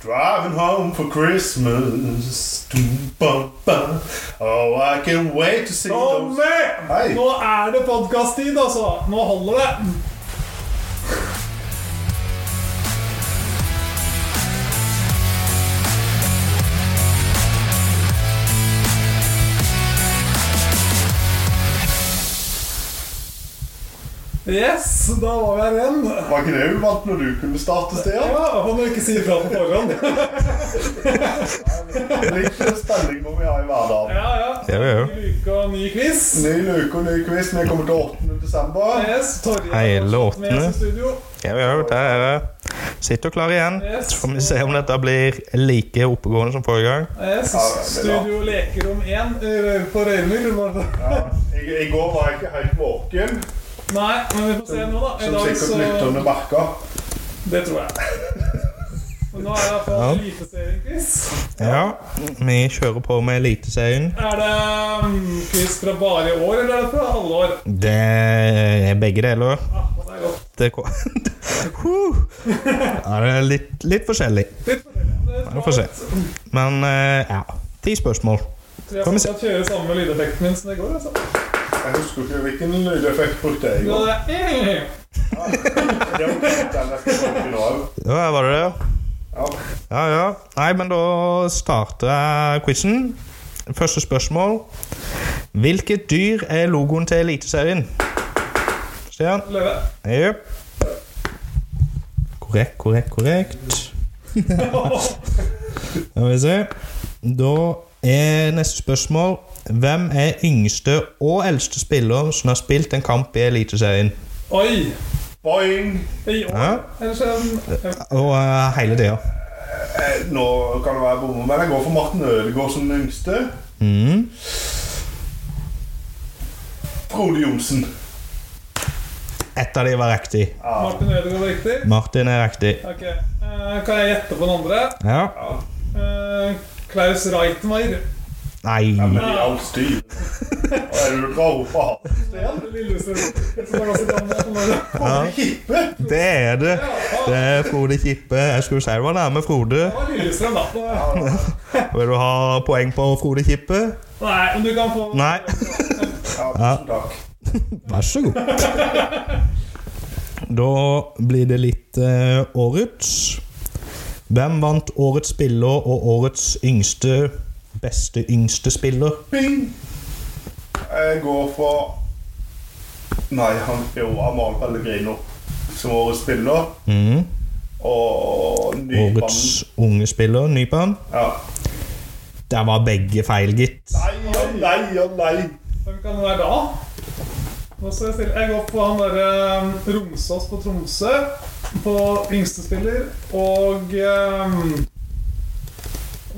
Driving home for Christmas. Dum-bum-bum. Oh, I can wait to see those Tommy! Hei. Nå er det podkast-tid, altså! Nå holder det! Yes, da var vi her igjen. Var ikke det uvant når du kunne starte, Stian? Ja, Om du ikke sier fra på forhånd. Litt spenning må vi ha i hverdagen. Ja, ja. Jo, jo. Ny uke og ny quiz. Ny luke og ny quiz. Vi kommer til 8. desember. Yes, Torje har Hele fortsatt med åttende. oss i studio. Jo, jo, det er det. Sitter klar igjen. Yes. Så får vi se om dette blir like oppegående som forrige gang. Yes, Ja, det er bra. Studio Lekerom 1 eh, på Røymyr. Ja. I, I går var jeg ikke helt våken, Nei, men vi får se nå, da. I som dag, sikkert så lytterne merker. Det tror jeg. Men nå er det Ja. iallfall eliteseriequiz. Ja, vi kjører på med Eliteserien. Er det mm, quiz fra bare i år, eller er det fra alle år? Det er begge deler. Ah, det er godt. Det kom... Huh. Ja, det er litt, litt forskjellig. Litt forskjellig. Vi får se. Men eh, ja. Ti spørsmål. Jeg Kan vi se. skal kjøre samme lydeffekten min som det går, altså. Jeg husker ikke hvilken lydeffekt brukte jeg i Ja, går. det Eh, er- Det var ikke den jeg skulle bruke nå. Ja, her var det det? Ja. Ja, ja. Nei, men da starter jeg quizen. Første spørsmål. Hvilket dyr er logoen til Eliteserien? Stian? Løve. Jep. Korrekt, korrekt, korrekt. Skal vi se. Da er neste spørsmål Hvem er yngste og eldste spiller som har spilt en kamp i Eliteserien? Oi! Boing! I Ja. år? Eller så Og eh, hele tida. Eh, Nå kan det være bommer, men jeg går for Martin Ødegaard som den yngste. Mm. Frode Johnsen. Ett av de var riktig. Ja. Martin Ødegaard riktig? Martin er riktig. Ok, eh, Kan jeg gjette på den andre? Ja. Eh, Klaus Reitmeier. Nei. Ja, men i all styr. Hva er det du drar opp av? Lillestrøm. Som er også gammel som er det. Ja, Kippe? det er det. Det er Frode Kippe. Jeg skulle si det var nærme Frode. Det var Lillestrøm, da. Vil du ha poeng på Frode Kippe? Nei, men du kan få Nei. Ja, tusen takk. Vær så god. Da blir det litt eh, årets. Hvem vant årets spiller og årets yngste beste yngste spiller? Bing! Jeg går for Nei, han jo Amahl Pellegrino som årets spiller. Mhm. Og Nybanen. Årets unge spiller, Nypan. Ja. Der var begge feil, gitt. Nei og nei og nei. Hvem kan det være da? Nå står jeg stille. Jeg går på han derre eh, Romsås på Tromsø. På yngstespiller. Og eh,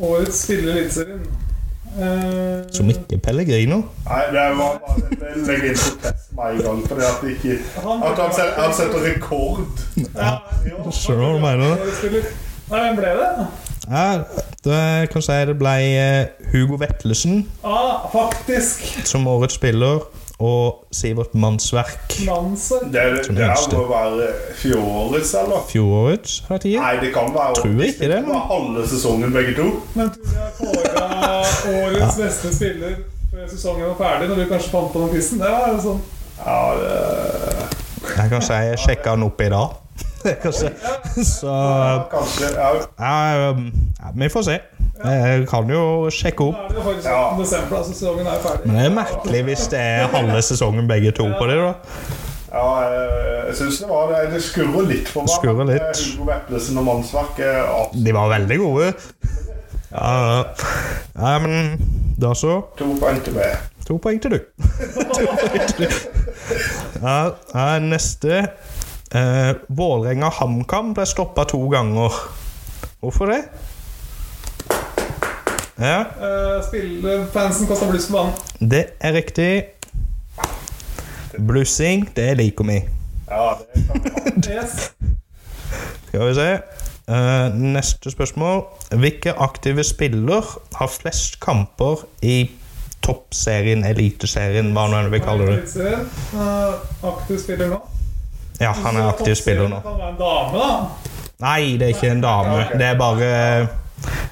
årets spiller i Eliteserien. Eh, Som ikke Pellegrino. Nei, det var bare å legge inn protest med en gang. Fordi at, det ikke, han- at han, set, han setter rekord. Ja, Skjønner du hva jeg mener? årets spiller. Nei, hvem ble det? Ja, det kan jeg si det ble eh, Hugo Vetlesen Ah, faktisk. som årets spiller, og Sivert Mannsverk Nansen. Det, det, Som det her yngste. må være fjorårets, eller? fjorårets, har jeg tid. Nei, det kan være Tror jeg ikke det, men- var halve sesongen, begge to. Men tror vi har kåra årets beste spiller før sesongen var ferdig, når du kanskje fant på den quizen. Det var jo sånn Ja, det, Jeg kan si jeg sjekka han opp i dag. Jeg kan si. Så ja, kanskje ja, Ja, um, ja, vi får se. Jeg kan jo Da sjekke opp. er det jo faktisk Ja. 18. desember, altså sesongen er jo ferdig. Men det er merkelig hvis det er halve sesongen begge to på det. da. ja, eh, jeg syns det var det. Det skurrer litt for meg. Skurrer men, litt. eh, Hugo Vetlesen og mannsverk er absolutt De var veldig gode. Ja, ja. ja men da så. to på NTB. To poeng til du. To poeng til du. Ja, ja, neste. Eh, Vålerenga HamKam ble stoppa to ganger. Hvorfor det? Ja, Eh, Spillerfansen Kosta Bluss på banen. det er riktig. Blussing, det liker vi. Ja, det kan vi ha. Yes. Skal vi se. Eh, neste spørsmål. Hvilke aktive spiller har flest kamper i toppserien, eliteserien, hva nå enn vi kaller det? Eliteserien. Eh, aktiv spiller nå. Ja, han er aktiv spiller nå. Kan være en dame, da. Nei, det er ikke en dame. Ja, ok. Det er bare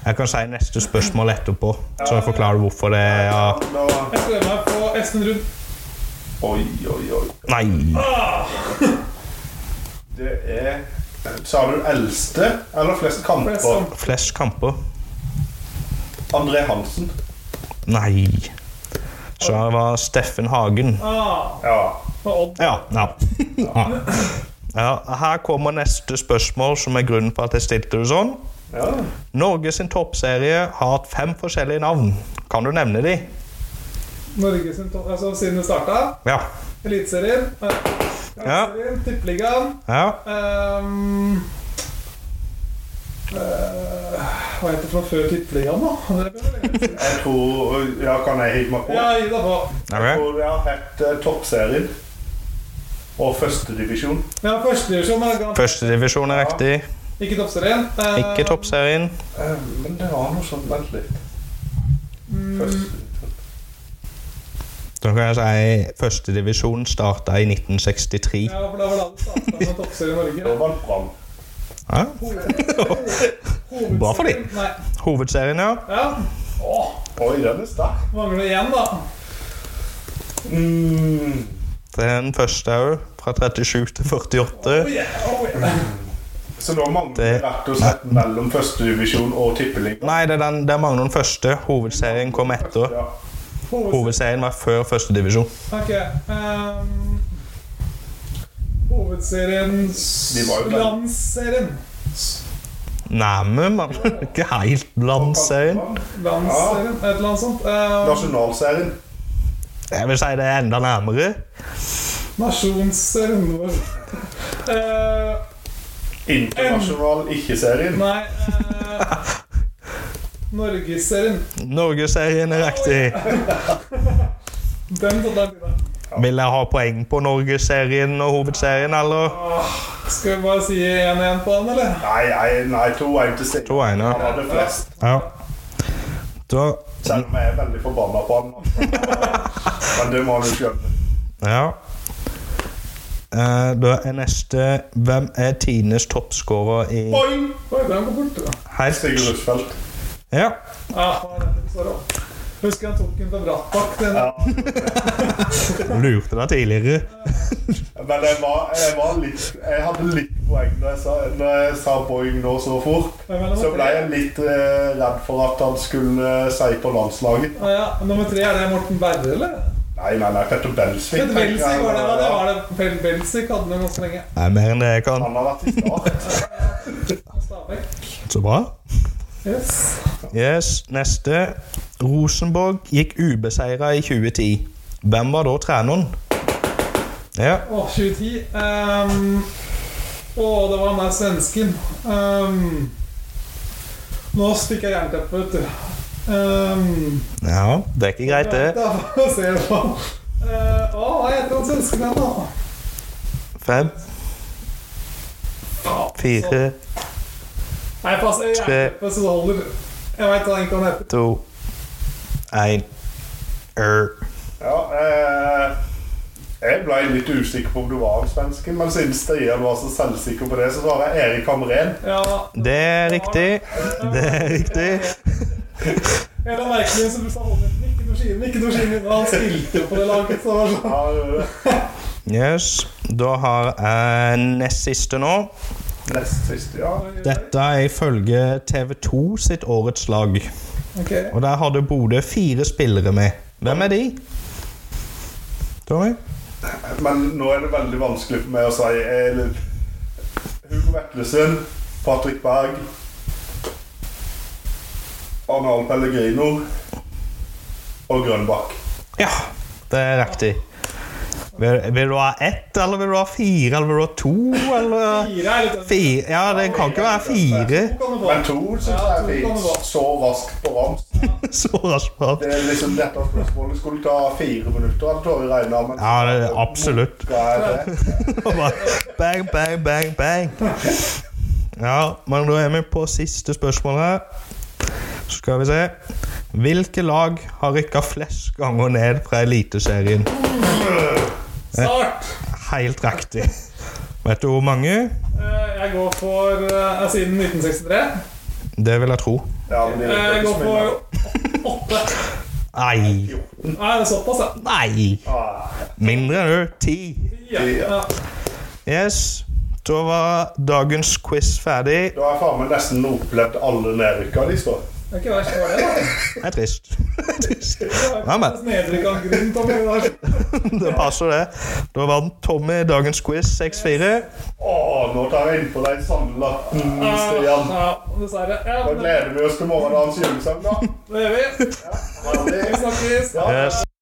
Jeg kan si neste spørsmål etterpå, så jeg forklarer hvorfor det er ja. Da, Jeg prøver meg på Esten Ruud. oi, oi, oi. Nei. Det er Sa du eldste eller flest kamper? Flest kamper. Flest kamper. André Hansen. Nei. Så det var Steffen Hagen. Ah, Ja. og Odd. Ja. ja. ja. ja her kommer neste spørsmål, som er grunnen for at jeg stilte det sånn. ja. Norges toppserie har hatt fem forskjellige navn. Kan du nevne de? Norge sin topp... Altså, siden det starta. Ja. Eliteserien. eh, Ja. Eliteserien, Tippeligaen. ja. ehm, eh, hva heter det fra før Tippeligaen, da? Det ble vel lenge siden. Jeg tror Ja, kan jeg hive meg på? Ja, gi deg på. Jeg Ok. tror det har hett eh, Toppserien og Førstedivisjon. Ja, Førstedivisjon. er gammel. Førstedivisjon er riktig. Ikke toppserien. Eh, Ikke toppserien. Eh, Men det var noe sånt. Vent litt. Førstedivisjon. Så kan jeg si Førstedivisjon starta i 1963. Ja, for da var det alle starta med toppserie i Norge. Da vant Brann. Ja. Hoved- Bra for de. Nei. Hovedserien, ja. Ja. Åh, Oi, den er sterk. mangler igjen, da. Mm. Den første òg, fra 37 til 48. Oh, yeah, oh, yeah. Så da mangler det Det- rett og slett mellom førstedivisjon og tippeligaen. Nei, det er den, der mangler den første. Hovedserien kom etter. Ja. Hoved- Hovedserien var før førstedivisjon. Ok. ehm, hovedserien s- De var jo der. Landsserien. Nærme, men ikke helt landsserien. Landsserien, et eller annet sånt. Ehm, Nasjonalserien. Jeg vil si det er enda nærmere. nasjonsserien vår. Eh, Internasjonal ikke-serien. nei eh, Norgesserien. Norgesserien er riktig. Den tok jeg til deg. Vil jeg ha poeng på Norgesserien og hovedserien, eller? Skal vi bare si 1-1 på den, eller? Nei, nei, nei, to er ikke To stil. ene. Han hadde flest, Ja. Da selv om jeg er veldig forbanna på han. Men det må han jo skjønne. Ja. Eh, Da er neste Hvem er tidenes toppskårer i Oi! Oi, den går borte, da. Sigurd helt Rushfeldt. Ja. Ja, hva er det? Sorry. Husker jeg tok den på Brattbakk. Den. Ja. Lurte deg tidligere. Men jeg var, jeg var litt Jeg hadde litt poeng når jeg sa, når jeg sa Boing nå så fort. Hvem er nummer Så ble tre? jeg litt eh, redd for at han skulle eh, si på landslaget. Ah, ja. Nummer tre, er det Morten Berre, eller? Nei, nei, nei, Petter Belsvik. Fred tenker jeg. Belsik var det, ja. Det var det. Fred Belsik hadde den ganske lenge. Nei, mer enn det jeg kan. Han har vært i start. Og Stabæk. Så bra. Yes. Yes, neste. Rosenborg gikk ubeseira i 2010. Hvem var da treneren? Ja. Å, 2010. Um, å, det var den der svensken. Ehm, nå stikker jeg jernteppet, vet du. Ehm, ja. Det er ikke greit, det. Da får vi se på han. Eh, Å, hva heter han svensken igjen, da? Fem, Ja, fire, så- Nei, pass. Jeg tre. jernteppet, så det holder. Jeg veit ikke hva han heter. to, én Er. Ja, eh, jeg ble litt usikker på om du var en svenske, men siden Stian var så selvsikker på det, så svarer jeg Erik Hamren. Ja, Det er riktig. Det er riktig. En av merkene som sa holde ikke noe skinn, ikke noe skinn. Og han spilte jo på det laget, så det var sånn. Ja, eh, Yes. Da har jeg nest siste nå. nest siste, ja. Dette er ifølge TV 2 sitt årets lag. Ok. Og der hadde Bodø fire spillere med. Hvem er de? Tommy? Men nå er det veldig vanskelig for meg å si eh, Hugo Vetlesen, Patrick Berg, Arnald Pellegrino og Grønbakk. Ja, det er riktig. Vil, vil du ha ett, eller vil du ha fire, eller vil du ha to, eller Fire er litt Fire? Ja, det kan ikke være fire. To kan du få. Men to syns Ja, jeg to er kan det være. fint. Så raskt på rams. Så raskt. Det er liksom Dette spørsmålet skulle ta fire minutter, hadde Tore regna med. Ja, det er absolutt. Hva er det? Bare Bang, bang, bang, bang. Ja, men da er vi på siste spørsmål her. Så skal vi se. Hvilke lag har rykka flest ganger ned fra Eliteserien? Start! Helt riktig. Vet du hvor mange? Eh, Jeg Jeg går for eh, er siden 1963. Det vil jeg tro. Ja, men det Eh, er Jeg ikke går så mye. for åtte. Nei. Nei, det er såpass, ja. Nei. Ah, Mindre enn du. Ti. ja. ja. Yes. Da var dagens quiz ferdig. Da har jeg faen meg nesten opplevd alle nedrykka de står. Det er ikke verst, var det? da. Det er trist. Det er trist. Det er Ja, men. faktisk nedrykk av en grunn, Tommy. Det er- Det passer, det. Da vant Tommy dagens quiz 6-4. Å, nå tar jeg innpå deg sandlatten, Stian. Ja, dessverre. Ja, Da men gleder vi oss til morgendagens julesang, da. det gjør vi. Ha det. Vi snakkes. Ja. Yes.